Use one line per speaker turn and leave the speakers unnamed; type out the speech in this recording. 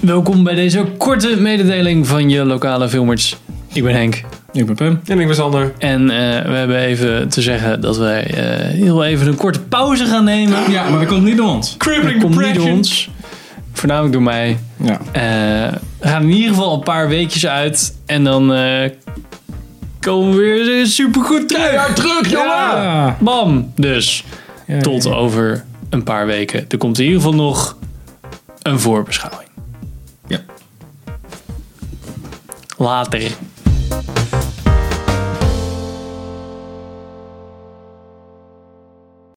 Welkom bij deze korte mededeling van je lokale filmers. Ik ben Henk.
Ik ben Pim.
En ik ben Sander.
En eh, we hebben even te zeggen dat wij eh, heel even een korte pauze gaan nemen.
Ja, maar dat komt niet door ons.
Crippling
Dat komt niet door
depression.
ons. Voornamelijk door mij.
Ja.
Eh, we gaan in ieder geval een paar weekjes uit. En dan eh, komen we weer supergoed terug.
Ja, druk, jongen!
Ja.
Bam! Dus
Ja,
tot
ja.
over een paar weken. Er komt in ieder geval nog een voorbeschouwing.
Ja.
Later.